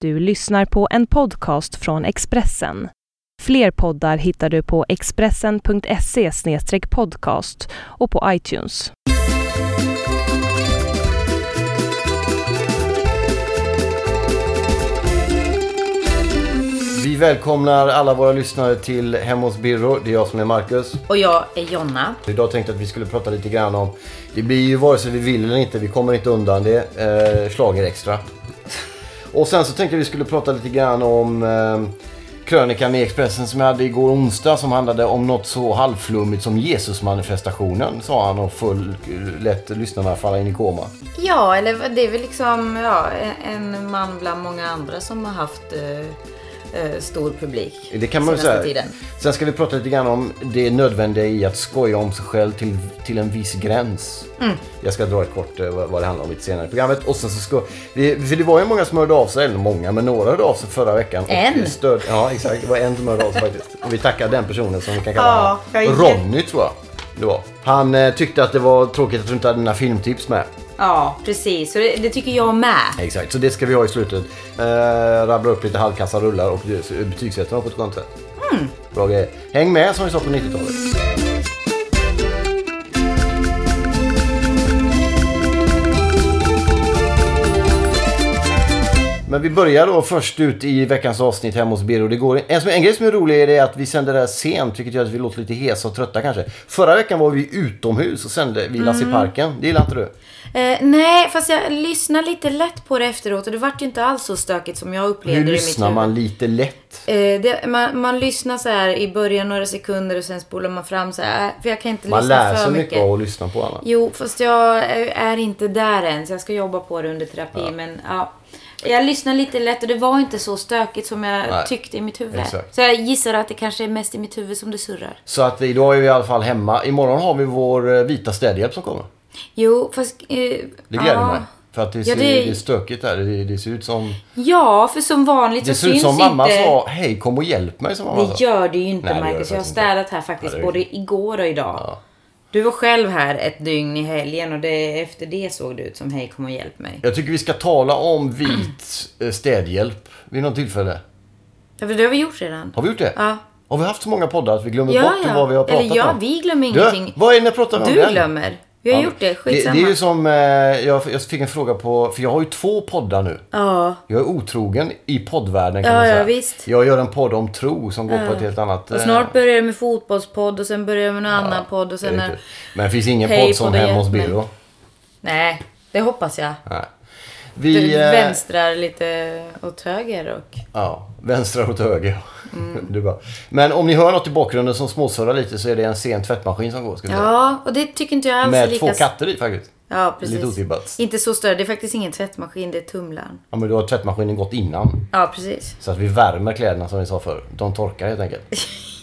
Du lyssnar på en podcast från Expressen. Fler poddar hittar du på expressen.se podcast och på iTunes. Vi välkomnar alla våra lyssnare till Hem hos Birro. Det är jag som är Marcus. Och jag är Jonna. Idag tänkte jag att vi skulle prata lite grann om, det blir ju vare sig vi vill eller inte, vi kommer inte undan det, eh, slager extra. Och sen så tänkte jag att vi skulle prata lite grann om eh, krönikan i Expressen som jag hade igår onsdag som handlade om något så halvflummigt som Jesusmanifestationen, sa han och full, lätt lyssnarna falla in i koma. Ja, eller det är väl liksom ja, en man bland många andra som har haft eh, eh, stor publik Det kan man ju senaste säga. tiden. Sen ska vi prata lite grann om det nödvändiga i att skoja om sig själv till, till en viss gräns. Mm. Jag ska dra ett kort eh, vad, vad det handlar om lite senare i programmet. Och sen så ska, vi, för det var ju många som hörde av sig, eller många, men några hörde av sig förra veckan. Och En. Stöd, ja, exakt. Det var en som hörde av sig faktiskt. Och vi tackar den personen som vi kan Ja, kalla jag honom. gick- Ronny tror jag det var. Han eh, tyckte att det var tråkigt att du inte hade dina filmtips med. Ja, precis. Så det, det tycker jag med. Exakt, så det ska vi ha i slutet. Eh, rabbla upp lite halvkassa rullar och betygsätta dem på ett skönt sätt. Mm. Bra grejer. Häng med som vi sa på 90-talet. Men vi börjar då först ut i veckans avsnitt hemma hos Birro. Det går en, som- en grej som är rolig är det att vi sänder det här sent vilket gör att vi låter lite hesa och trötta kanske. Förra veckan var vi utomhus och sände vi Lasse Mm. i parken. Det gillar inte du? Eh, nej, fast jag lyssnade lite lätt på det efteråt och det vart ju inte alls så stökigt som jag upplevde Hur det i mitt lyssnar huvud. man lite lätt? Eh, det, man, man lyssnar så här i början några sekunder och sen spolar man fram så här. "Äh, För jag kan inte Man lyssna lär sig för mycket av att lyssna på annat. Jo, fast jag är inte där än så jag ska jobba på det under terapi. Men ja, jag lyssnade lite lätt och det var inte så stökigt som jag Nej, tyckte i mitt huvud. exakt. Så jag gissar att det kanske är mest i mitt huvud som det surrar. Så att idag är vi i alla fall hemma. Imorgon har vi vår eh, vita städhjälp som kommer. Jo, fast... Eh, Det gläder mig. För att det ser, Ja, det... det- är stökigt där. Det, det ser ut som, Ja, för som vanligt det så ser ut syns som mamma inte... sa. Hej kom och hjälp mig som mamma Det sa. gör det ju inte Nej, det gör Marcus. det Jag har faktiskt inte. städat här faktiskt Nej, det är både igår och idag. Ja. Du var själv här ett dygn i helgen och det, efter det såg det ut som hej kom och hjälp mig. Jag tycker vi ska tala om vit eh, städhjälp vid något tillfälle. Ja, för det har vi gjort redan. Har vi gjort det? Ja. Har vi haft så många poddar att vi glömmer Ja, bort ja. vad vi har pratat Eller ja, om? vi glömmer Du, ingenting. vad är det ni pratar om? Du den? glömmer. Vi har gjort det. Skitsamma. Det, det är ju som, eh, jag, jag fick en fråga på, för jag har ju två poddar nu. Ja. Jag är otrogen i poddvärlden kan Ja, man säga. ja, visst. Jag gör en podd om tro som går på ett helt annat... Och eh, snart börjar det med fotbollspodd och sen börjar det med någon annan podd och jag sen... vet Är... inte. typ. Men det finns ingen Hej, podd som podden Hemma hos hjälp mig. Birro. Nej, det hoppas jag. Nej. Du Vi... eh, vänstrar lite åt höger och... Ja, vänstra åt höger. Mm. Du bara. Men om ni hör något i bakgrunden som småsurrar lite så är det en sen tvättmaskin som går. Ska vi säga. Ja, och det tycker inte jag alls är Med lika... två katter i faktiskt. Ja, precis. Lite otippat. Inte så större. Det är faktiskt ingen tvättmaskin, det är tumlaren. Ja, men då har tvättmaskinen gått innan. Ja, precis. Så att vi värmer kläderna som vi sa förr. De torkar helt enkelt.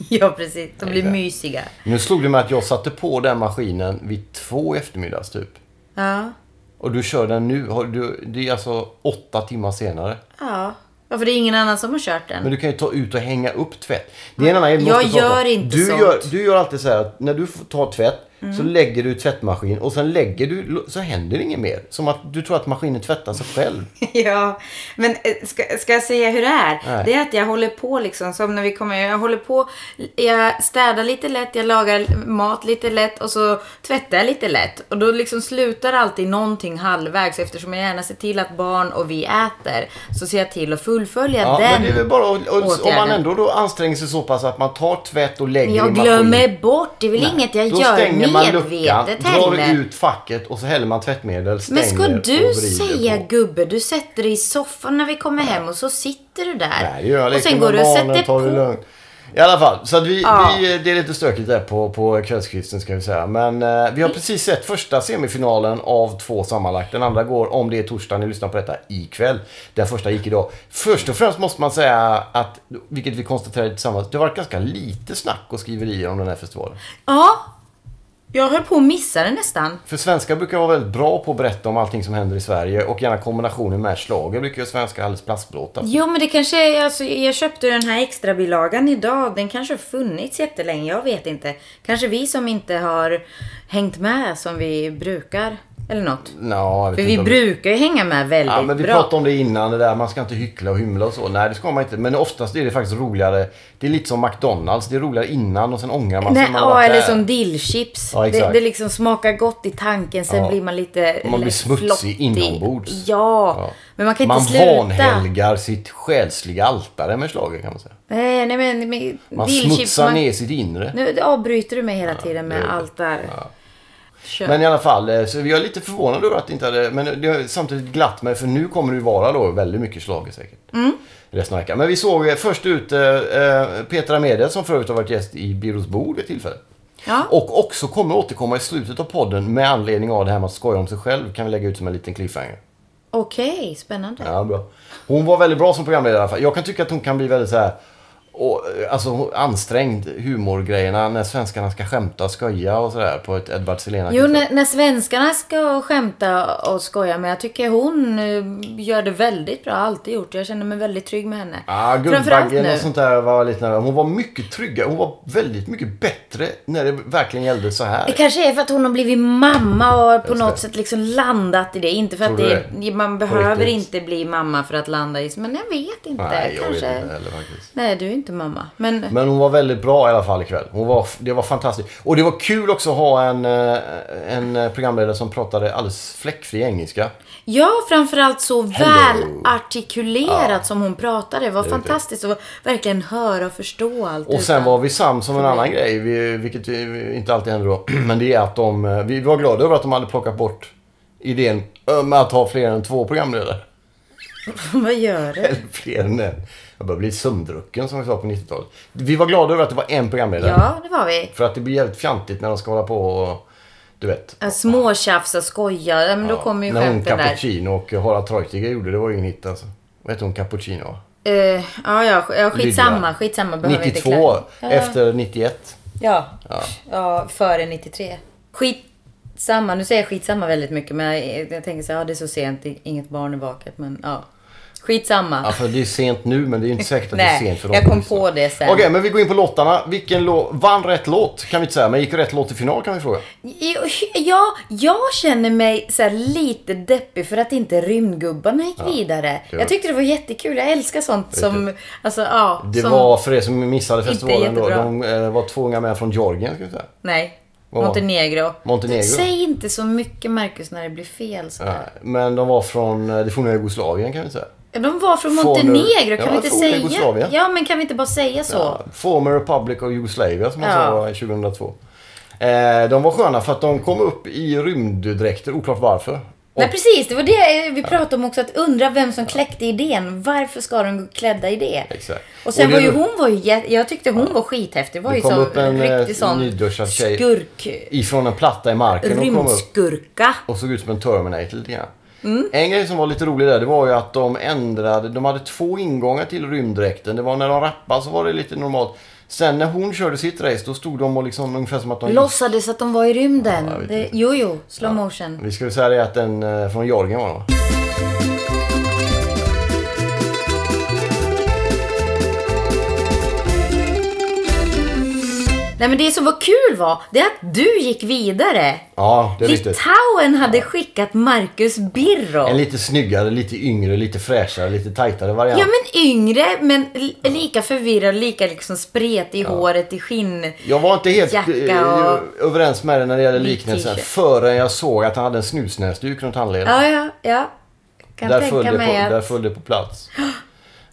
Ja, precis. De blir Exakt. mysiga. Nu slog det mig att jag satte på den maskinen vid två i eftermiddags typ. Ja. Och du kör den nu. Har du, det är alltså åtta timmar senare. Ja. Ja, för det är ingen annan som har kört den. Men du kan ju ta ut och hänga upp tvätt. Det är en annan grej vi Jag måste prata om. gör inte du sånt. Gör, du gör alltid så här att när du får ta tvätt så lägger du i tvättmaskin och sen lägger du så händer det inget mer. Som att du tror att maskinen tvättar sig själv. Ja, men eh, ska, ska jag säga hur det är? Nej. Det är att jag håller på liksom, som när vi kommer, jag håller på, jag städar lite lätt, jag lagar mat lite lätt och så tvättar jag lite lätt. Och då liksom slutar alltid någonting halvvägs eftersom jag gärna ser till att barn och vi äter. Så ser jag till att fullfölja Ja, den. men det är väl bara att- och, om man åtgärden. ändå då anstränger sig så pass att man tar tvätt och lägger Men i jag maskin. glömmer bort, det är väl inget jag då gör stänger man luckan, medvetet drar heller. ut facket och så häller man tvättmedel, stänger Men ska och du vrider säga på. gubbe, du sätter dig i soffan när vi kommer hem och så sitter du där. Nej, det gör jag. och Leker med sen går du och barnen, sätter tar på det lugnt. I alla fall, så att vi, Ja. vi, det är lite stökigt där på, på kvällskvisten ska vi säga. Men eh, Mm. vi har precis sett första semifinalen av två sammanlagt. Den andra går, om det är torsdag, ni lyssnar på detta, ikväll. Den första gick idag. Först och främst måste man säga att, vilket vi konstaterade tillsammans, det har varit ganska lite snack och skriverier om den här festivalen. Ja. Jag höll på att missa det nästan. För svenskar brukar vara väldigt bra på att berätta om allting som händer i Sverige och gärna kombinationen med schlager brukar ju svenskar alldeles plastblåta. Jo men det kanske är, alltså, jag köpte den här extra bilagan idag. Den kanske har funnits jättelänge, jag vet inte. Kanske vi som inte har hängt med som vi brukar. Eller något. Nå, jag vet För inte vi om- brukar ju hänga med väldigt Ja, men vi Typ, bra. pratade om det innan, det där man ska inte hyckla och hymla och så. Nej, det ska man inte. Men oftast är det faktiskt roligare. Det är lite som McDonalds. Det är roligare innan och sen ångrar man sig. Nej, när man har ja, varit eller där. som dillchips. Ja, det, exakt. det liksom smakar gott i tanken, sen Ja. blir man lite Man blir lätt smutsig flottig. inombords. Ja. Ja. men man kan inte Man sluta. vanhelgar sitt själsliga altare med slaget kan man säga. Nej, nej men med Man dillchips. smutsar Man, ner sitt inre. nu avbryter du mig hela tiden med det- allt där. Kör. Men i alla fall, eh, så jag är lite förvånad över att det inte hade... Men det har samtidigt glatt mig för nu kommer det ju vara då väldigt mycket schlager säkert. Mm. Resten av veckan. Men vi såg eh, först ut eh, eh, Petra Mede som förut har varit gäst i Birros bord vid ett tillfälle. ja. Och också kommer återkomma i slutet av podden med anledning av det här med att skoja om sig själv. Kan vi lägga ut som en liten cliffhanger. Okej, spännande. Ja, bra. Hon var väldigt bra som programledare i alla fall. Jag kan tycka att hon kan bli väldigt så här... Och, eh, alltså ansträngd humorgrejerna när svenskarna ska skämta, skoja och sådär på ett Edward Selena Jo, när, när svenskarna ska skämta och skoja, men jag tycker hon eh, gör det väldigt bra. Har alltid gjort det. Jag känner mig väldigt trygg med henne. Ja, Framförallt Guldbaggen nu. och sånt där var lite nervös. Hon var mycket tryggare. Hon var väldigt mycket bättre när det verkligen gällde så Det här. kanske är för att hon har blivit mamma och har på Just något det. sätt liksom landat i det. Inte för Tror att du det, man behöver riktigt? inte bli mamma för att landa i. Men jag vet inte. Nej, jag vet kanske. inte heller faktiskt. Nej, du är inte mamma. Men, Men hon var väldigt bra i alla fall ikväll. Hon var, det var fantastiskt. Och det var kul också att ha en, eh, en programledare som pratade alldeles fläckfri engelska. ja, framförallt så väl artikulerat som hon pratade. Det var fantastiskt att verkligen höra och förstå allt. Och sen utan- var vi sams om en annan grej, vi, vilket eh, inte alltid händer då. Men det är att de, eh, vi var glada över att de hade plockat bort idén eh, med att ha fler än två programledare. Vad gör det? Eller fler än en. Jag börjar bli sömndrucken som vi sa på 90-talet. Vi var glada över att det var en programledare. Ja, det var vi. För att det blir jävligt fjantigt när de ska hålla på och... Du vet. Äh, Småtjafsa, skoja. Ja, Men då kommer ju när hon skämten där. Cappuccino och Harald Treutiger gjorde det var ju ingen hit alltså. Vad hette hon Cappuccino? va? Eh, ja, ja, sk- ja, skitsamma. Lydia. Skitsamma. Behöver inte 92 klä- Ja. efter 91. Ja. ja. före 93. Skitsamma. Nu säger jag skitsamma väldigt mycket. Men jag, jag tänker så här, ja, det är så sent. det- Inget barn är vaket. Men ja. Skitsamma. Ja, för det är sent nu men det är ju inte säkert att det är Nej, sent för dem. jag som kom lyssnar. på det sen. Okej, men vi går in på låtarna. Vilken låt... Vann rätt låt kan vi inte säga, men gick rätt låt till final kan vi fråga. Jo, Ja, jag känner mig så här lite deppig för att inte rymdgubbarna gick vidare. det var- Jag tyckte det var jättekul. Jag älskar sånt som... Alltså, ja. Det som, var, för er som missade festivalen då, jättebra. de eh, var två unga män från Georgien ska vi säga. Nej. Vad var det? Montenegro. Montenegro. Säg inte så mycket Marcus när det blir fel. Så. Nej, Men de var från eh, det forna Jugoslavien kan vi säga. De var från Former- Montenegro, Ja, kan vi inte forna säga? Jugoslavien. Ja, men kan vi inte bara säga så? Former Republic of Yugoslavia som man Ja. sa 2002. Eh, de var sköna för att de kom upp i rymddräkter, oklart varför. Och, Nej, precis. Det var det eh, vi pratade om också, att undra vem som kläckte idén. Varför ska de gå klädda i det? Exakt. Och sen Och det- var ju hon, var ju, jä- jag tyckte hon var skithäftig. Det var Det ju kom som upp en, eh, riktig sån nyduschad tjej. skurk, ifrån en platta i marken och kom upp rymdskurka. och såg ut som en Terminator lite grann. Mm. En grej som var lite rolig där, det var ju att de ändrade, de hade två ingångar till rymddräkten. Det var när de rappade så var det lite normalt. Sen när hon körde sitt race, då stod de och liksom ungefär som att de... Låtsades att de var i rymden. Ja, jag vet det, inte. jo, jo, slow motion. Vi skulle säga det att den eh, från Jorgen var det va? Nej men det som var kul var, det är att du gick vidare. Ja, det är riktigt. Litauen hade skickat Marcus Birro. En lite snyggare, lite yngre, lite fräschare, lite tajtare variant. Ja men yngre, men li- lika förvirrad, lika liksom spretig i håret, i skinn. Jag var inte helt Jacka eh, och- överens med dig när det gäller Vit liknelsen t-shirt. förrän jag såg att han hade en snusnäsduk runt handleden. Ja, ja, ja. Kan där, tänka föll det på, mig att... där föll det på plats.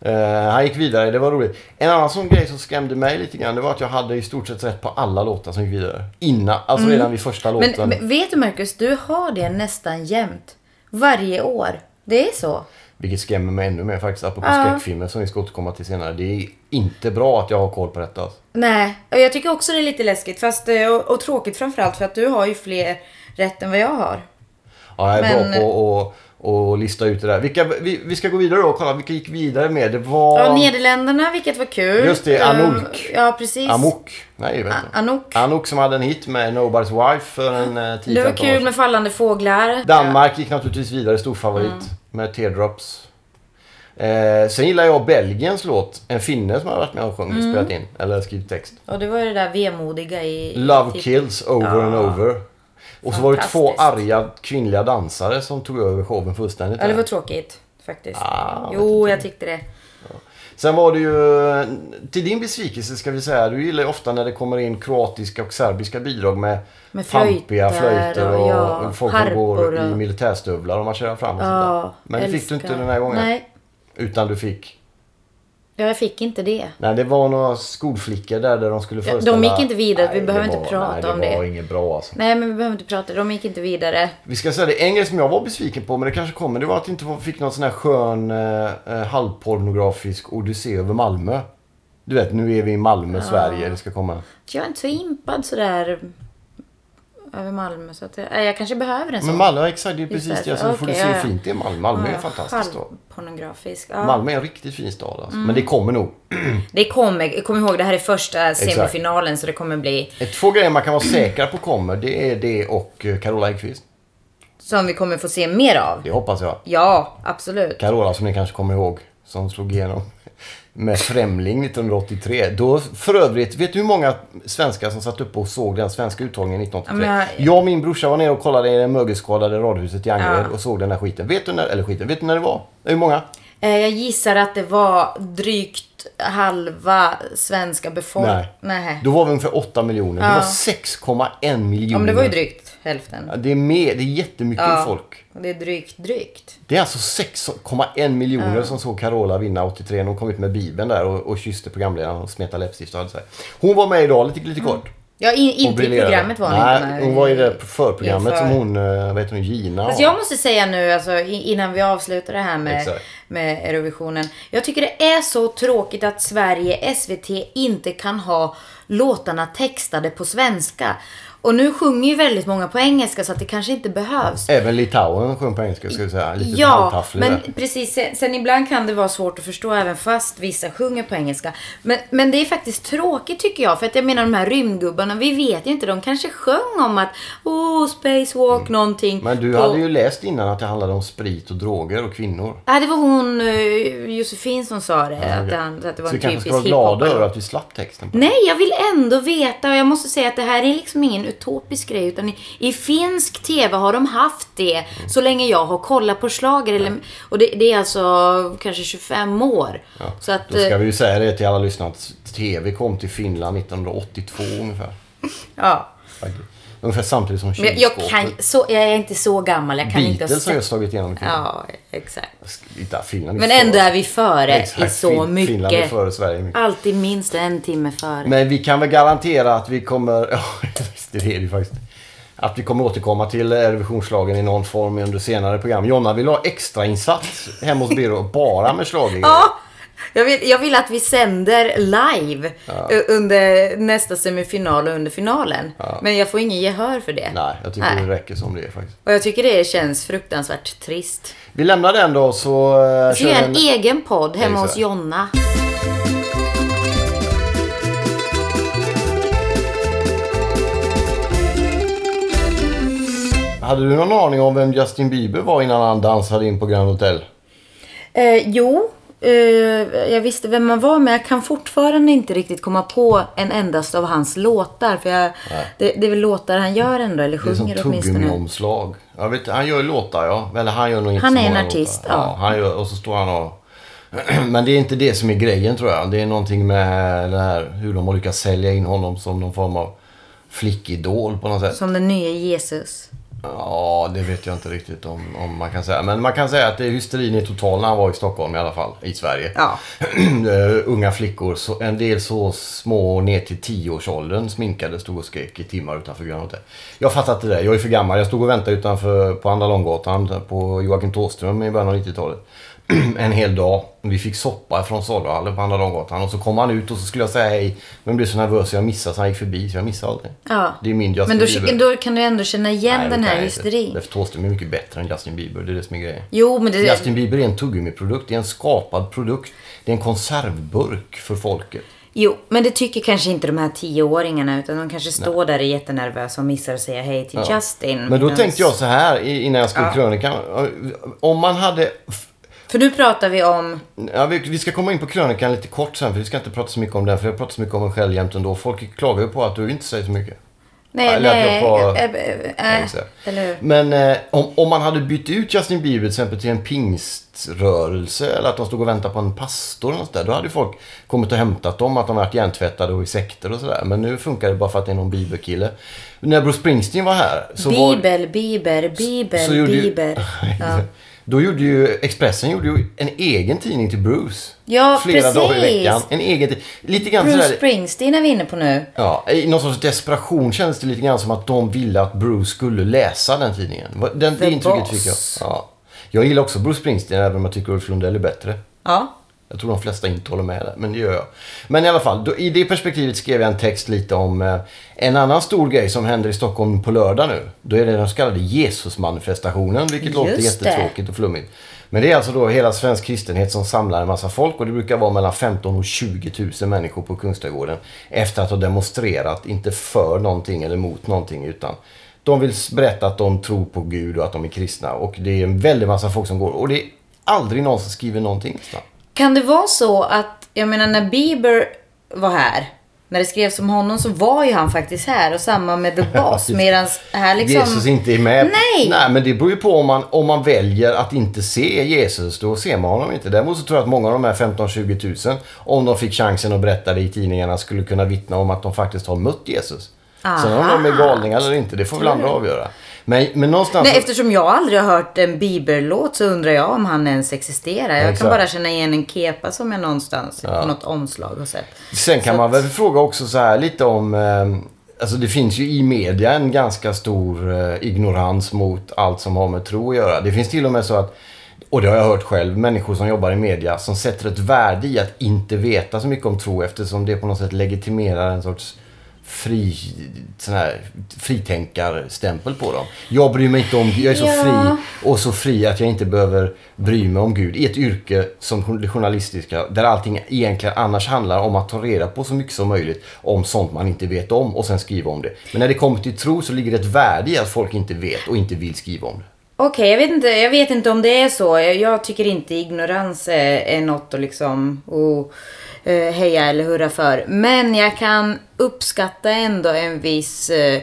Eh, han gick vidare, det var roligt. En annan sån grej som skrämde mig lite grann det var att jag hade i stort sett rätt på alla låtar som gick vidare. Innan, alltså redan vid första låten. Mm. Men, men vet du Marcus, du har det nästan jämt. Varje år. Det är så. Vilket skrämmer mig ännu mer faktiskt, apropå Ja. skräckfilmer som vi ska återkomma till senare. Det är inte bra att jag har koll på detta. Alltså. Nej, och jag tycker också det är lite läskigt fast, eh, och, och tråkigt framförallt för att du har ju fler rätt än vad jag har. Ja, jag är Men- bra på att och, lista ut det där. Vilka, vi, vi ska gå vidare då och kolla vilka gick vidare med. Det var... Ja, Nederländerna, vilket var kul. Just det, Eh, Anouk. Ja, precis. Amok. Nej, jag vet A- inte. Anouk. Anouk som hade en hit med Nobody's Wife för en eh, 10-15 Det var år sedan. kul med fallande fåglar. Danmark gick naturligtvis vidare, stor favorit med Teardrops. Eh, sen gillar jag Belgiens låt, en finne som har varit med och sjungit, Mm. spelat in, eller skrivit text. Och det var ju det där vemodiga i... Love typ- kills over and over. Och så var det två Fantastiskt. arga kvinnliga dansare som tog över showen fullständigt. Ja, det där. var tråkigt faktiskt. Ah, jo, jag tyckte det. Sen var det ju, till din besvikelse ska vi säga, du gillar ju ofta när det kommer in kroatiska och serbiska bidrag med, Med pampiga flöjter flöjter och, och, ja, folk som går harpor och- i militärstövlar och marscherar fram och sånt där. Ja, Men det fick du älskar. inte den här gången. Nej, Utan du fick, ja, jag fick inte det. nej det var några skolflickor där, där de skulle Ja, de föreställa. gick inte vidare, vi det behöver inte var- prata om Nej det var det. inget bra alltså. Nej, men vi behöver inte prata. De gick inte vidare. Vi ska säga det, en grej som jag var besviken på, men det kanske kommer, det var att det inte var- fick någon sån här skön eh, eh, halvpornografisk odyssé över Malmö. Du vet, nu är vi i Malmö, Sverige, det ska komma. Jag är inte så impad sådär över Malmö. Så att jag, nej, jag kanske behöver en sån. Men Malmö, exakt, det är precis därför. det. Alltså, då får du Okej, se ja, hur ja. fint det är i Malmö. Malmö är Ja, fantastiskt då. Halvpornografisk. Ja. Mm. Malmö är en riktigt fin stad alltså. Men det kommer nog. Det kommer. Kom ihåg, det här är första semifinalen så det kommer bli Eh, Två grejer man kan vara Mm. säker på kommer, det är det och eh, Carola Engqvist. som vi kommer få se mer av. Det hoppas jag. Ja, absolut. Carola som ni kanske kommer ihåg, som slog igenom med Främling 1983. Då, för övrigt, vet du hur många svenskar som satt uppe och såg den svenska uttagningen 1983? Ja, men jag och min brorsa var nere och kollade i det mögelskadade radhuset i Angered Ja. och såg den här skiten. Vet du när, eller skiten, vet du när det var? Hur många? Eh, Jag gissar att det var drygt halva svenska befolkningen. Nej. Då var vi ungefär 8 miljoner. Det Ja. var 6,1 miljoner. Ja, men det var ju drygt hälften. Ja, Det är, mer, det är jättemycket Ja. folk. Och Det är drygt drygt. Det är alltså 6,1 miljoner som såg Carola vinna 83 när hon kom ut med Bibeln där och, och kysste programledaren och smetade läppstift och hade sig. Hon var med idag lite, lite kort. Ja, in, Mm. inte i briljerade. programmet var hon Nej, inte med. hon var i det förprogrammet som Inför. hon, eh, vad heter hon, Gina Fast har. jag måste säga nu, alltså, i- innan vi avslutar det här med, Exakt. med Eurovisionen. Jag tycker det är så tråkigt att Sverige, SVT, inte kan ha låtarna textade på svenska. Och nu sjunger ju väldigt många på engelska så att det kanske inte behövs. Även Litauen sjöng på engelska ska vi säga. Lite Ja, halvtafflig men där. precis. Sen, sen ibland kan det vara svårt att förstå även fast vissa sjunger på engelska. Men, men det är faktiskt tråkigt tycker jag. För att jag menar de här rymdgubbarna, vi vet ju inte. De kanske sjöng om att oh, spacewalk någonting. Mm. Men du på- hade ju läst innan att det handlade om sprit och droger och kvinnor. Nej, det var hon eh, Josefin som sa det. att, okej. han, att det var Så vi en kanske typisk ska vara glada över hiphopare. att vi slapp texten. På. Nej, jag vill ändå veta och jag måste säga att det här är liksom ingen utopisk grej utan i, i finsk TV har de haft det Mm. så länge jag har kollat på schlager. Eller, och det, det är alltså kanske 25 år. Så att, Då ska eh, vi ju säga det till alla lyssnare att TV kom till Finland 1982 ungefär. ja. Ungefär samtidigt som Men jag, jag, kan, så, jag är inte så gammal, jag kan inte ha Beatles har sett. just slagit igenom. Ja. Ja, exakt. Inte Finland är Men före. ändå är vi före i Exakt, så Fin- Finland är mycket. före Sverige mycket. Alltid minst en timme före. Men vi kan väl garantera att vi kommer... Ja, visst, det är det ju faktiskt. Att vi kommer återkomma till Eurovisionsschlagern i någon form under senare program. Jonna vill ha extrainsats hemma hos Birro bara med schlager. Ja, jag vill, jag vill att vi sänder live eh, under nästa semifinal och under finalen. Men jag får ingen gehör för det. Nej, jag tycker Nej. det räcker som det är faktiskt. Och jag tycker det känns fruktansvärt trist. Vi lämnar den då så... eh, Så gör kör en, en egen podd hemma Exakt. hos Jonna. Hade du någon aning om vem Justin Bieber var innan han dansade in på Grand Hotel? Eh, jo, eh, jag visste vem man var men jag kan fortfarande inte riktigt komma på en endast av hans låtar. För jag, det, det är väl låtar han gör ändå, eller Det är som sjunger åtminstone. tuggummi-omslag. Jag vet, han gör ju låtar ja. Eller han gör nog inte Han så är en många artist, låtar. ja. han gör, och så står han och... Men det är inte det som är grejen tror jag. Det är någonting med det här, hur de har lyckats sälja in honom som någon form av flickidol på något sätt. Som den nya Jesus. Ja, det vet jag inte riktigt om, om man kan säga. Men man kan säga att det, hysterin är total när han var i Stockholm i alla fall. I Sverige. Ja. Eh, unga flickor, så, en del så små ner till 10-årsåldern sminkade, stod och skrek i timmar utanför Gröna Hotel. Jag fattar inte det, jag är för gammal. Jag stod och väntade utanför på Andra Långgatan på Joakim Thåström i början av 90-talet. en hel dag. Vi fick soppa från saluhallen på Andra Långgatan och så kom han ut och så skulle jag säga hej. Men blev så nervös så jag missade så han gick förbi så jag missade allting. Ja. Det är min Justin Men då, Bieber. då kan du ändå känna igen Nej, det kan den här jag inte. hysterin. Därför Thåström är mycket bättre än Justin Bieber, det är det som är grejen. Jo, men det... Justin Bieber är en tuggummiprodukt, det är en skapad produkt. Det är en konservburk för folket. Jo, men det tycker kanske inte de här tioåringarna utan de kanske står där och är jättenervösa och missar att säga hej till Justin. Men då Medans- tänkte jag så här i- innan jag skrev krönikan. eh, Om man hade... För nu pratar vi om... Ja, vi, vi ska komma in på krönikan lite kort sen för vi ska inte prata så mycket om den för jag pratar så mycket om mig själv jämt ändå. Folk klagar ju på att du inte säger så mycket. Nej, Ja, lät jag nej. på- eh, eh, eh, just det. eller hur? Men eh, om, om man hade bytt ut Justin Bieber till exempel till en pingströrelse eller att de stod och väntade på en pastor eller något där, då hade ju folk kommit och hämtat dem, att de varit hjärntvättade och i sekter och sådär. Men nu funkar det bara för att det är någon Bieber-kille. När Bruce Springsteen var här så var... Bibel, Bibel, Bibel, så gjorde ju- Bibel. Ja. Då gjorde ju Expressen gjorde ju en egen tidning till Bruce. Ja, Flera dagar i precis. veckan. En egen tid- Lite grann Bruce sådär, Springsteen är vi inne på nu. Ja, I någon sorts desperation kändes det lite grann som att de ville att Bruce skulle läsa den tidningen. Va- Den, det The intrycket Boss. fick jag. Ja. Jag gillar också Bruce Springsteen även om jag tycker Ulf Lundell är bättre. Ja. Jag tror de flesta inte håller med där, men det gör jag. Men i alla fall, då, i det perspektivet skrev jag en text lite om eh, en annan stor grej som händer i Stockholm på lördag nu. Då är det den så kallade Jesusmanifestationen, vilket Just låter det. jättetråkigt och flummigt. Men det är alltså då hela svensk kristenhet som samlar en massa folk och det brukar vara mellan 15 och 20 000 människor på Kungsträdgården efter att ha demonstrerat, inte för någonting eller mot någonting utan de vill s- berätta att de tror på Gud och att de är kristna och det är en väldig massa folk som går och det är aldrig någon som skriver någonting nästan. Kan det vara så att, jag menar när Bieber var här, när det skrevs om honom så var ju han faktiskt här och samma med The Boss. Medan här liksom... Jesus inte är med. Nej. Nej, men det beror ju på om man, om man väljer att inte se Jesus. Då ser man honom inte. Däremot så tror jag att många av de här 15-20 000, om de fick chansen att berätta det i tidningarna, skulle kunna vittna om att de faktiskt har mött Jesus. Sen om de är galningar eller inte, det får väl andra avgöra. Men, men någonstans... Nej, eftersom jag aldrig har hört en Bieber-låt så undrar jag om han ens existerar. Jag Exakt. kan bara känna igen en kepa som jag någonstans på något omslag har sett. Sen kan man väl fråga också så här lite om... Eh, alltså det finns ju i media en ganska stor eh, ignorans mot allt som har med tro att göra. Det finns till och med så att, och det har jag hört själv, människor som jobbar i media som sätter ett värde i att inte veta så mycket om tro eftersom det på något sätt legitimerar en sorts fri, sån här, fritänkarstämpel på dem. Jag bryr mig inte om Jag är så Ja. fri och så fri att jag inte behöver bry mig om Gud. I ett yrke som jour- det journalistiska där allting egentligen annars handlar om att ta reda på så mycket som möjligt om sånt man inte vet om och sen skriva om det. Men när det kommer till tro så ligger det ett värde i att folk inte vet och inte vill skriva om det. Okej, jag, vet inte, jag vet inte om det är så. Jag, jag tycker inte ignorans är, är något att liksom oh, eh, heja eller hurra för. Men jag kan uppskatta ändå en viss eh,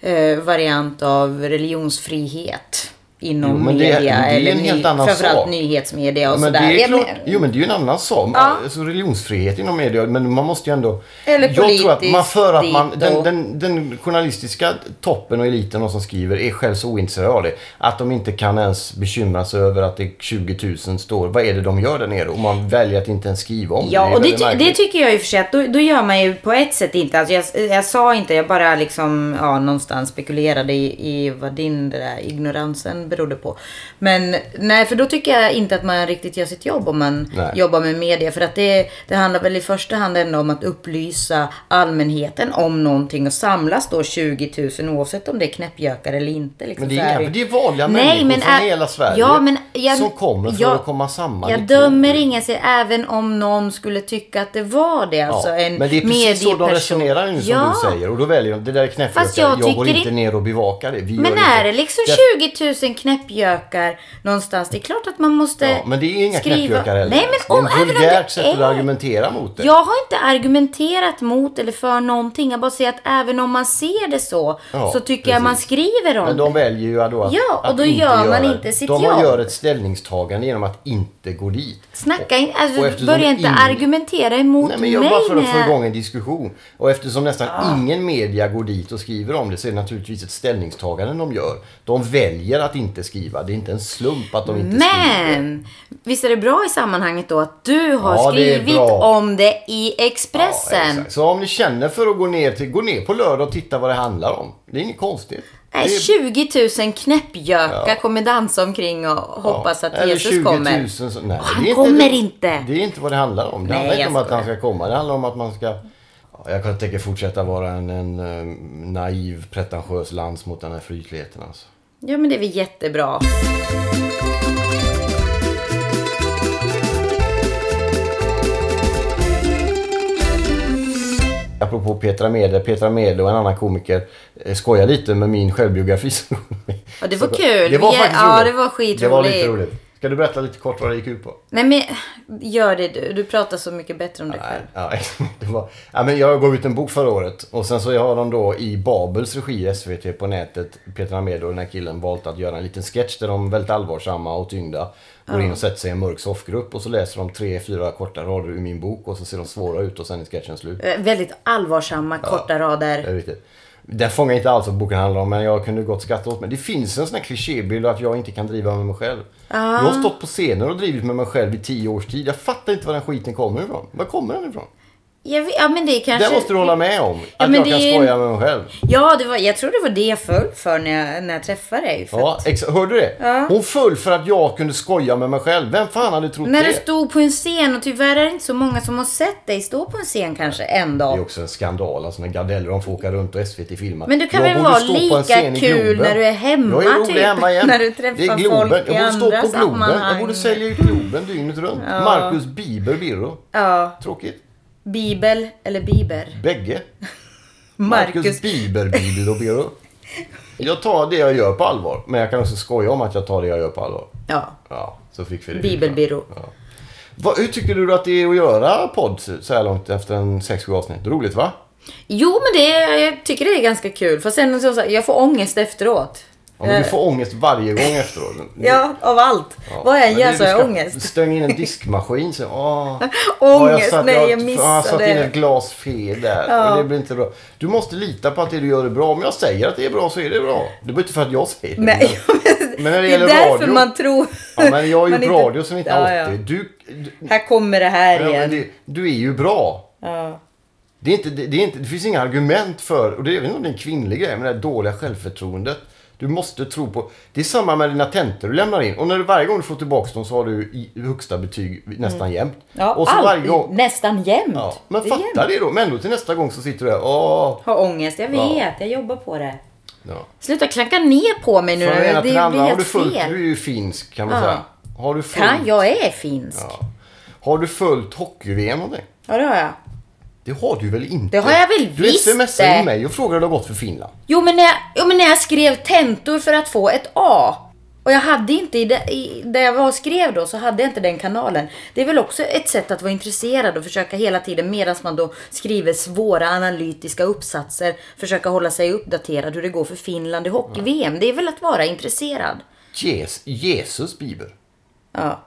eh, variant av religionsfrihet inom Jo, men det- media. det är eller en helt annan framförallt sak. nyhetsmedia och Men det sådär. är Jag klart, men- jo men det är ju en annan sak. Ja. Alltså religionsfrihet inom media. Men man måste ju ändå... Eller jag tror att man politiskt för att man, dit den, och- den, den journalistiska toppen och eliten och som skriver är själv så ointresserade av det. Att de inte kan ens bekymra sig över att det 20 000 står. Vad är det de gör där nere? Och man väljer att inte ens skriva om det. Ja, är och det, väldigt ty- det märkligt. tycker jag i och för sig att då, då gör man ju på ett sätt inte. Alltså jag, jag sa inte, jag bara liksom ja, någonstans spekulerade i, i vad din det där ignoransen berodde på. Men nej, för då tycker jag inte att man riktigt gör sitt jobb om man Nej. jobbar med media. För att det, det handlar väl i första hand ändå om att upplysa allmänheten om någonting och samlas då 20 000 oavsett om det är knäppjökar eller inte. Liksom Men det så här. är, det är vanliga människor från ä- hela Sverige ja, men jag- som kommer för jag- att komma samman. i Jag tro. dömer ingen, sig, även om någon skulle tycka att det var det. Alltså en men det är precis så de medieperson. resonerar nu som ja. du säger. Och då väljer de, det där är knäppgökar, Fast jag jag, går tycker inte i- ner och bevakar det. Vi Men gör är inte. det liksom 20 000 knäppjökar någonstans? Det är klart att man måste Ja, men det är inga skriva... knäppgökar heller. Nej, men om, det är ett även om det vulgärt sätt att är... argumentera mot det. Jag har inte argumenterat mot eller för någonting. Jag bara säger att även om man ser det så, Ja, så tycker jag man precis. skriver om Men det. de väljer ju då att, Ja, och att då inte gör göra man det. inte sitt de jobb. gör ett ställningstagande genom att inte gå dit. Snacka in, och alltså, eftersom börja inte ingen- argumentera emot Nej, men jag mig. Ah. bara för att när få jag- igång en diskussion. Och eftersom nästan ingen media går dit och skriver om det så är det naturligtvis ett ställningstagande de gör. De väljer att inte skriva. Det är inte en slump att de inte skriver. Men visst är det bra i sammanhanget då att du har Ja, det är skrivit bra. om det i Ja, Expressen? exakt. så om ni känner för att gå ner, till, gå ner på lördag och titta vad det handlar om. Det är inget konstigt. Nej, det är 20 000 knäppjökar kommer dansa omkring och hoppas Ja, att eller Jesus 20 000 kommer. som- nej, han det är kommer inte. Det är inte vad det handlar om. Det Nej, handlar inte jag om att han skojar. ska komma. Det handlar om att man ska... Ja, Jag kan tänka fortsätta vara en, en eh, naiv, pretentiös lans mot den här frytligheten alltså. Ja, men det är väl jättebra. Apropå Petra Mede. Petra Mede och en annan komiker eh, skojar lite med min självbiografi. som kom med. Ja, det var Så- kul. Det var Ja, faktiskt ja, roligt. det var skitroligt. Det var lite roligt. Ska Ska du berätta lite kort vad det gick ut på? Nej men gör det du. Du pratar så mycket bättre om dig själv. Ja, det var, ja, men jag gav ut en bok förra året och sen så har de då i Babels regi i SVT på nätet, Peter Ahmed och den här killen valt att göra en liten sketch där de väldigt allvarsamma och tyngda går in och sätter sig i en mörk soffgrupp och så läser de tre, fyra korta rader ur min bok och så ser de svåra ut och sen är sketchen slut. Eh, Väldigt allvarsamma, korta Det rader. är riktigt. Den fångar inte alls vad boken handlar om men jag kunde gott skratta åt mig. Det finns en sån här klichébild att jag inte kan driva med mig själv. Jag Ah. har stått på scener och drivit med mig själv i tio års tid. Jag fattar inte var den skiten kommer ifrån. Var kommer den ifrån? Jag vet, ja men det är kanske... Det måste du hålla med om. Att Alltså, men jag det kan är- skoja med mig själv. Ja, det var, jag tror det var det jag föll för när jag, när jag träffade dig. För Ja, exa- hörde du det? Hon föll för att jag kunde skoja med mig själv. Vem fan hade trott När det? du stod på en scen och tyvärr är det inte så många som har sett dig stå på en scen kanske en Det är dag. också en skandal. Alltså när gardeller de får åka runt och SVT filmar. Men du kan Jag väl borde vara stå på en lika scen i kul Globen. när du är hemma, Jag är rolig typ. hemma igen. När du det är träffar Globen. folk i Jag borde stå andra på Globen. Jag sammanhang. borde sälja ut Globen dygnet runt. Marcus Bieber Birro. Ja, Tråkigt. Bibel eller Biber. Bägge. Marcus. Marcus Bieber Bieber och Birro. Jag tar det jag gör på allvar. Men jag kan också skoja om att jag tar det jag gör på allvar. Ja, Ja, så fick vi det. Bibelbyrå. Vad- hur tycker du att det är att göra podd så här långt efter en 6-7 avsnitt? Roligt va? Jo, men det, jag tycker det är ganska kul. Fast sen så, så här, jag får ångest efteråt. Ja, men du får ångest varje gång efteråt. Eh. Ja, av allt. Ja. Vad jag Men det är gör så har du jag ska ångest. Stöng in en diskmaskin så, åh. Ja, Ångest, satt- nej jag jag har satt in ett missade. glas fel där. Och det blir inte bra. Du måste lita på att det du gör är bra. Om jag säger att det är bra så är det bra. Det behöver inte för att jag säger det. Nej, Men när det det är gäller därför radio- man tror... Ja, men jag har gjort man inte- radio sedan 1980. Ja, ja. Du, du, Här kommer det här ja, men igen. det, du är ju bra. Ja. Det, är inte, det, det, är inte, det finns inga argument för, och det är jag vet inte om det är en kvinnlig grej, men det här dåliga självförtroendet. Du måste tro på... Det är samma med dina tentor du lämnar in. Och när du, varje gång du får tillbaka dem så har du i- högsta betyg nästan jämt. Mm. Ja, och så allt, varje gång... Nästan jämt. Ja, men Det är jämt. fatta det då. Men ändå till nästa gång så sitter du där. Åh. Har ångest, jag Ja. vet. Jag jobbar på det. Ja. Sluta klanka ner på mig nu. Från det det ena till det andra. blir Har du helt följt... fel. Du är ju finsk kan man Ja. säga. Har du följt... Kan, jag är finsk. Ja. Ja. Har du följt hockey-VM någonting? det har jag. Det har du väl inte? Det har jag väl du visst Du smsade det. ju mig och frågade hur det har gått för Finland. Jo men, när jag, jo men när jag skrev tentor för att få ett A. Och jag hade inte, i det, i, där jag var och skrev då, så hade jag inte den kanalen. Det är väl också ett sätt att vara intresserad och försöka hela tiden medan man då skriver svåra analytiska uppsatser, försöka hålla sig uppdaterad hur det går för Finland i hockey-VM. Det är väl att vara intresserad. Jes- Jesus Bieber. Ja.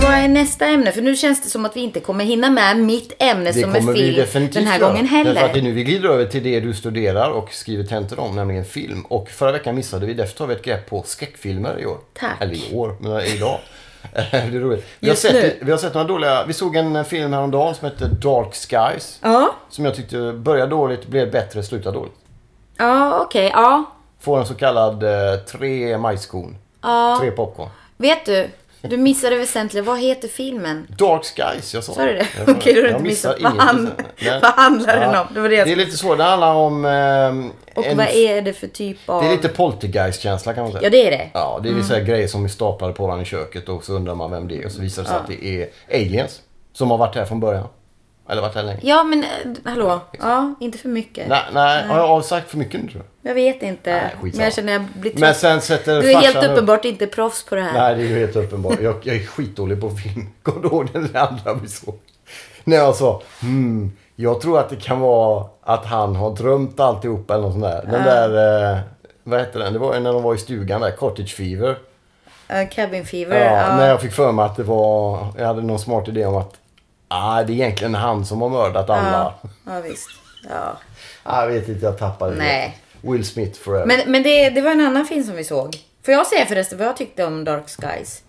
Vad är nästa ämne? För nu känns det som att vi inte kommer hinna med mitt ämne Det som kommer är vi film definitivt den här göra. gången Därför att det är heller. nu vi glider över till det du studerar och skriver tentor om, nämligen film. Och förra veckan missade vi, därför tar vi ett grepp på skräckfilmer i år. Tack. Eller i år, men idag. det är roligt. Vi har, Just sett, nu. vi har sett några dåliga, vi såg en film häromdagen som hette Dark Skies. Ja, Som jag tyckte började dåligt, blev bättre, slutade dåligt. ja okej. Ja. Får en så kallad eh, tre majskorn. ja. Tre popcorn. Vet du? Du missade väsentligen. Vad heter filmen? Dark Skies, jag sa Sa du det? Jag sa Okej, då har Jag du inte missar missat. Vad inget, hand- jag sa. vad handlar den om? Det var det jag det är skulle- lite svårt. Det handlar om... ehm, Och en- vad är det för typ av... Det är lite poltergeist-känsla kan man säga. Ja, det är det. Mm. Ja, det är vissa grejer som är staplade på varandra i köket och så undrar man vem det är och så visar det sig att det är aliens som har varit här från början. Eller varit här länge. Ja, men eh, hallå. Ja, inte för mycket. Nej, nej, har jag sagt för mycket nu tror Jag vet inte. skitsamma. men jag känner att jag blir jag? Men trött. sen sätter Du är helt farsan upp- uppenbart inte proffs på det här. Nej, det är ju helt uppenbart. Jag, jag är skitdålig på film. Kommer du ihåg den där andra vi såg? När jag sa hmm, jag tror att det kan vara att han har drömt alltihopa eller något sånt där. Den där, eh, vad hette den? Det var ju när de var i stugan där, Cottage Fever. Eh, cabin fever. Ja, Ja, När jag fick för mig att det var, jag hade någon smart idé om att ah, det är egentligen han som har mördat alla. ja. ja visst. Ja. Ah, jag vet inte, jag tappade det. Nej. Will Smith forever. Men, men det, det var en annan film som vi såg. Får jag säga förresten vad jag tyckte om Dark Skies?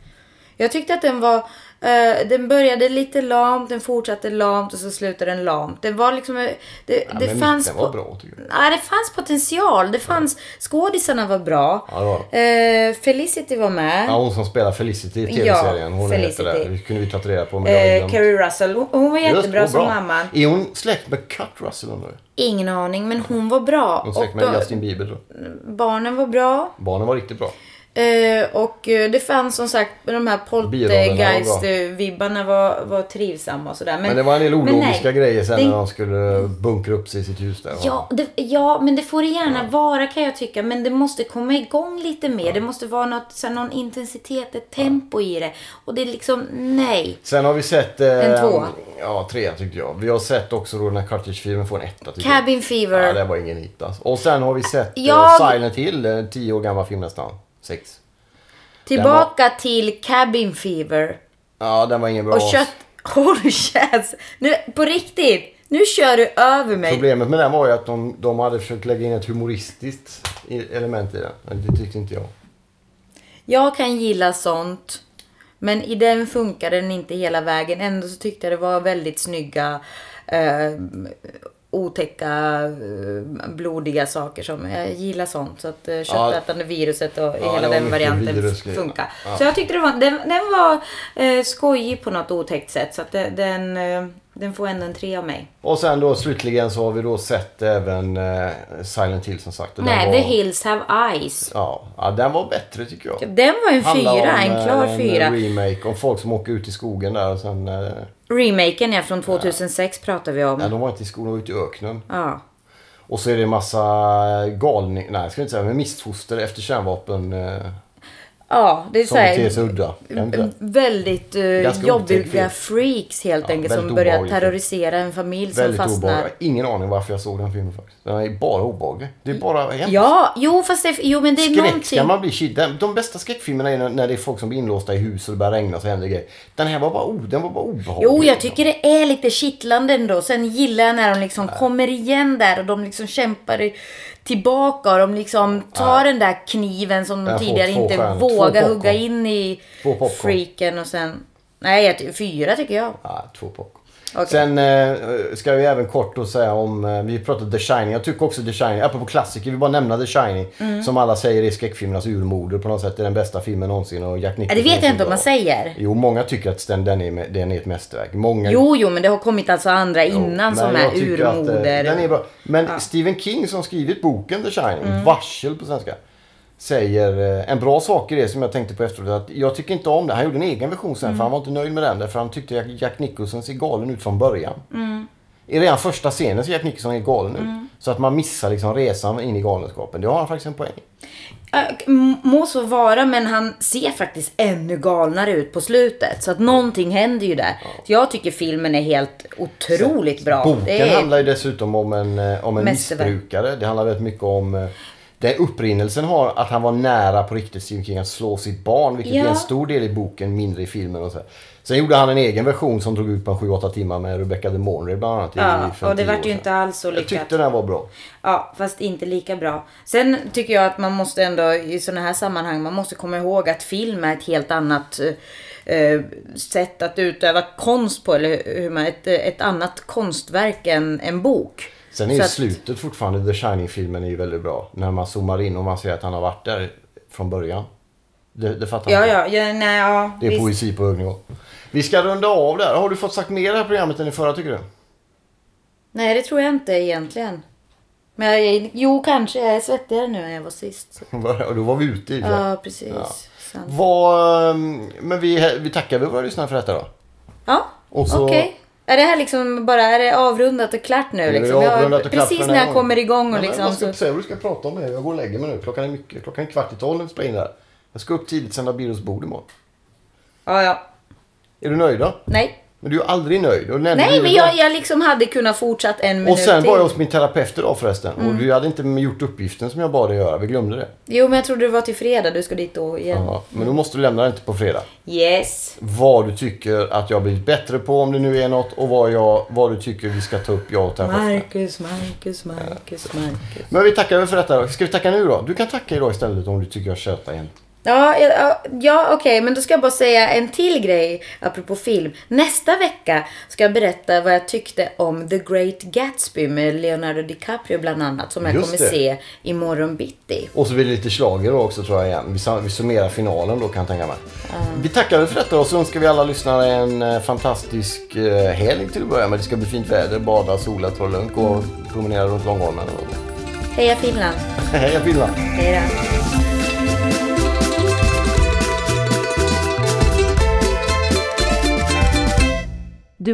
Jag tyckte att den var... eh, den började lite lamt, den fortsatte lamt och så slutade den lamt. Den var liksom... eh, Det, ja, det men fanns... mitten var på- bra tycker jag. Nej, det fanns potential. Det fanns... Skådisarna var bra. Ja, det var Eh, Felicity var med. Ja, hon som spelar Felicity i tv-serien. Hon Felicity. heter det. Det kunde vi tagit reda på. men jag har Eh, glömt. Carrie Russell. Hon, hon var Just, jättebra vad som bra. mamman. Är hon släkt med Kurt Russell undrar jag? Ingen aning, men hon var bra. Hon är Och släkt med då- Justin Bieber då? barnen var bra. Barnen var riktigt bra. Eh, och eh, det fanns som sagt de här Birollerna poltergeist-vibbarna var, var trivsamma och sådär. Men det var en del men nej, ologiska grejer sen det- när de skulle bunkra upp sig i sitt hus där. va? Ja, det, ja, men det får det gärna vara kan jag tycka. Men det måste komma igång lite mer. Det måste vara något, så här, någon intensitet, ett tempo i det. Och det är liksom, nej. Sen har vi sett... Eh, En tvåa. Ja, trea tyckte jag. Vi har sett också då den här Cartridge-filmen får en etta tycker jag. Cabin Fever. Ja, det var ingen hit alltså. Och sen har vi sett eh, Jag- Silent Hill, en tio år gammal film nästan. Sex. Tillbaka till Cabin Fever. Ja, den var ingen bra. Och kött... Håll käfts! Nu, på riktigt! Nu kör du över mig. Problemet med den var ju att de, de hade försökt lägga in ett humoristiskt i- element i den. Men Det tyckte inte jag. Jag kan gilla sånt. Men i den funkar den inte hela vägen. Ändå så tyckte jag det var väldigt snygga, eh, otäcka, eh, blodiga saker. som Jag gillar sånt. Så att eh, köttätande viruset och det hela var den mycket varianten virusgrejer. funkar. Ja. Så jag tyckte det var, den, den var eh, skojig på något otäckt sätt. Så att det- den, eh, den får ändå en tre av mig. Och sen då slutligen så har vi då sett även eh, Silent Hill som sagt. Och den Nej, var, The Hills Have Eyes. Ja, ja, den var bättre tycker jag. Den var en Handlar fyra, om, en eh, klar fyra. En remake om folk som åker ut i skogen där och sen... Eh, Remaken är från 2006 pratar vi Nej, om. de var inte i skogen, de var ute i öknen. Ja. Och så är det en massa galningar, nej jag ska inte säga, men missfoster efter kärnvapen eh, Ja, det är som så beter här, sig udda. Kan inte det? väldigt eh, Ganska otäck film. jobbiga freaks helt Ja, enkelt som väldigt börjar obehaglig film. terrorisera en familj som Väldigt fastnar. obehaglig. Jag har ingen aning varför jag såg den filmen faktiskt. Den är bara obehaglig. Det är bara hemskt. Ja, jo fast det, jo, men det är Skräck någonting. ska man bli shit. Den- De bästa skräckfilmerna är när- när det är folk som blir inlåsta i hus och det börjar regna och så händer grejer. Den här var bara, o- den var bara obehaglig. Jo, jag tycker det är lite kittlande ändå. Sen gillar jag när de liksom kommer igen där och de liksom kämpar i- tillbaka och de liksom tar den där kniven som Jag får de tidigare två inte stjärnor. Två vågar popcorn. hugga in i Två popcorn. freaken och sen... Nej, jag ty- fyra tycker jag. Ja, två popcorn. Okej. Sen eh, ska vi även kort då säga om, eh, vi pratade The Shining. Jag tycker också The Shining, apropå klassiker, vi bara nämna The Shining. Mm. Som alla säger är skräckfilmernas urmoder på något sätt. Det är den bästa filmen någonsin och Jack Ja, Nicholson. det vet jag inte om är man så säger. bra. Jo, många tycker att den, den, är, den är ett mästerverk. Många Jo, jo, men det har kommit alltså andra Jo, innan men som jag är tycker att, eh, urmoder. Den är bra. Men Stephen King som skrivit boken The Shining, Mm. Varsel på svenska. Säger eh, en bra sak i det som jag tänkte på efteråt. Att jag tycker inte om det. Han gjorde en egen version sen Mm. för han var inte nöjd med den. Därför han tyckte Jack, Jack Nicholson ser galen ut från början. Mm. I redan första scenen ser Jack Nicholson är galen ut. Så att man missar liksom resan in i galenskapen. Det har han faktiskt en poäng. Äh, m- Må så vara, men han ser faktiskt ännu galnare ut på slutet. Så att någonting händer ju där. Så jag tycker filmen är helt otroligt bra. Boken Det är- handlar ju dessutom om en, eh, om en Mästerverk. missbrukare. Det handlar väldigt mycket om eh, den upprinnelsen har att han var nära på riktigt Stephen King att slå sitt barn. Vilket Ja. är en stor del i boken, mindre i filmen och så. här. Sen gjorde han en egen version som drog ut på en 7-8 timmar med Rebecca De Mornay bland annat. i Ja, 50 och det år vart ju sedan. inte alls så Jag lyckat. tyckte den var bra. Ja, fast inte lika bra. Sen tycker jag att man måste ändå i sådana här sammanhang, man måste komma ihåg att film är ett helt annat eh, eh, sätt att utöva konst på. Eller hur man, ett, ett annat konstverk än en bok. Sen är ju Så att- slutet fortfarande, The Shining-filmen är ju väldigt bra. När man zoomar in och man ser att han har varit där från början. Det, det fattar Ja, inte. ja, ja, nej, ja. Det är visst. poesi på hög nivå. Vi ska runda av där. Har du fått sagt mer i det här programmet än i förra tycker du? Nej, det tror jag inte egentligen. Men jag, är- jo, kanske. Jag är svettigare nu än jag var sist. Var- Då var vi ute i det. Ja, precis. Ja. Sant. Vad, ehm, men vi, vi tackar väl våra lyssnare för detta då. Ja, Och så- okej. Är det här liksom bara är det avrundat och klart nu? Nu är det Liksom? Jag- avrundat och klart för precis den när här jag gången. kommer igång och Nej, men liksom... Jag ska Så, inte säga vad du ska prata om nu. Jag går och lägger mig nu. Klockan är mycket. Klockan är kvart i tolv när vi spelar in det här. Jag ska upp tidigt sända Birros bord imorgon. ja, ja. Är du nöjd då? Nej. Men du är ju aldrig nöjd. Och nämnde Nej, ju men idag. jag, jag liksom hade kunnat fortsatt en minut Och sen till. Mm. var jag hos min terapeut idag förresten. Och du hade inte gjort uppgiften som jag bad dig göra. Vi glömde det. Jo, men jag trodde det var till fredag du ska dit då igen. Ja, men då måste du lämna den till på fredag. Yes. Vad du tycker att jag har blivit bättre på om det nu är något. Och vad, jag, vad du tycker vi ska ta upp jag och terapeuten. Marcus, Marcus, Marcus, Marcus. Men vi tackar väl för detta då. Ska vi tacka nu då? Du kan tacka idag istället om du tycker jag tjötar igen. Ja, ja, ja, ja okej, men då ska jag bara säga en till grej apropå film. Nästa vecka ska jag berätta vad jag tyckte om The Great Gatsby med Leonardo DiCaprio bland annat, som jag Just kommer det. se imorgon bitti. Och så blir det lite schlager då också tror jag igen. Vi, sam- vi summerar finalen då kan jag tänka mig. Vi tackar väl för detta och så önskar vi alla lyssnare en eh, fantastisk eh, helg till att börja med. Det ska bli fint väder, bada, sola, ta det lugnt, gå och promenera runt Långholmen. eller något. Heja Finland! Heja Finland! Hej då! Du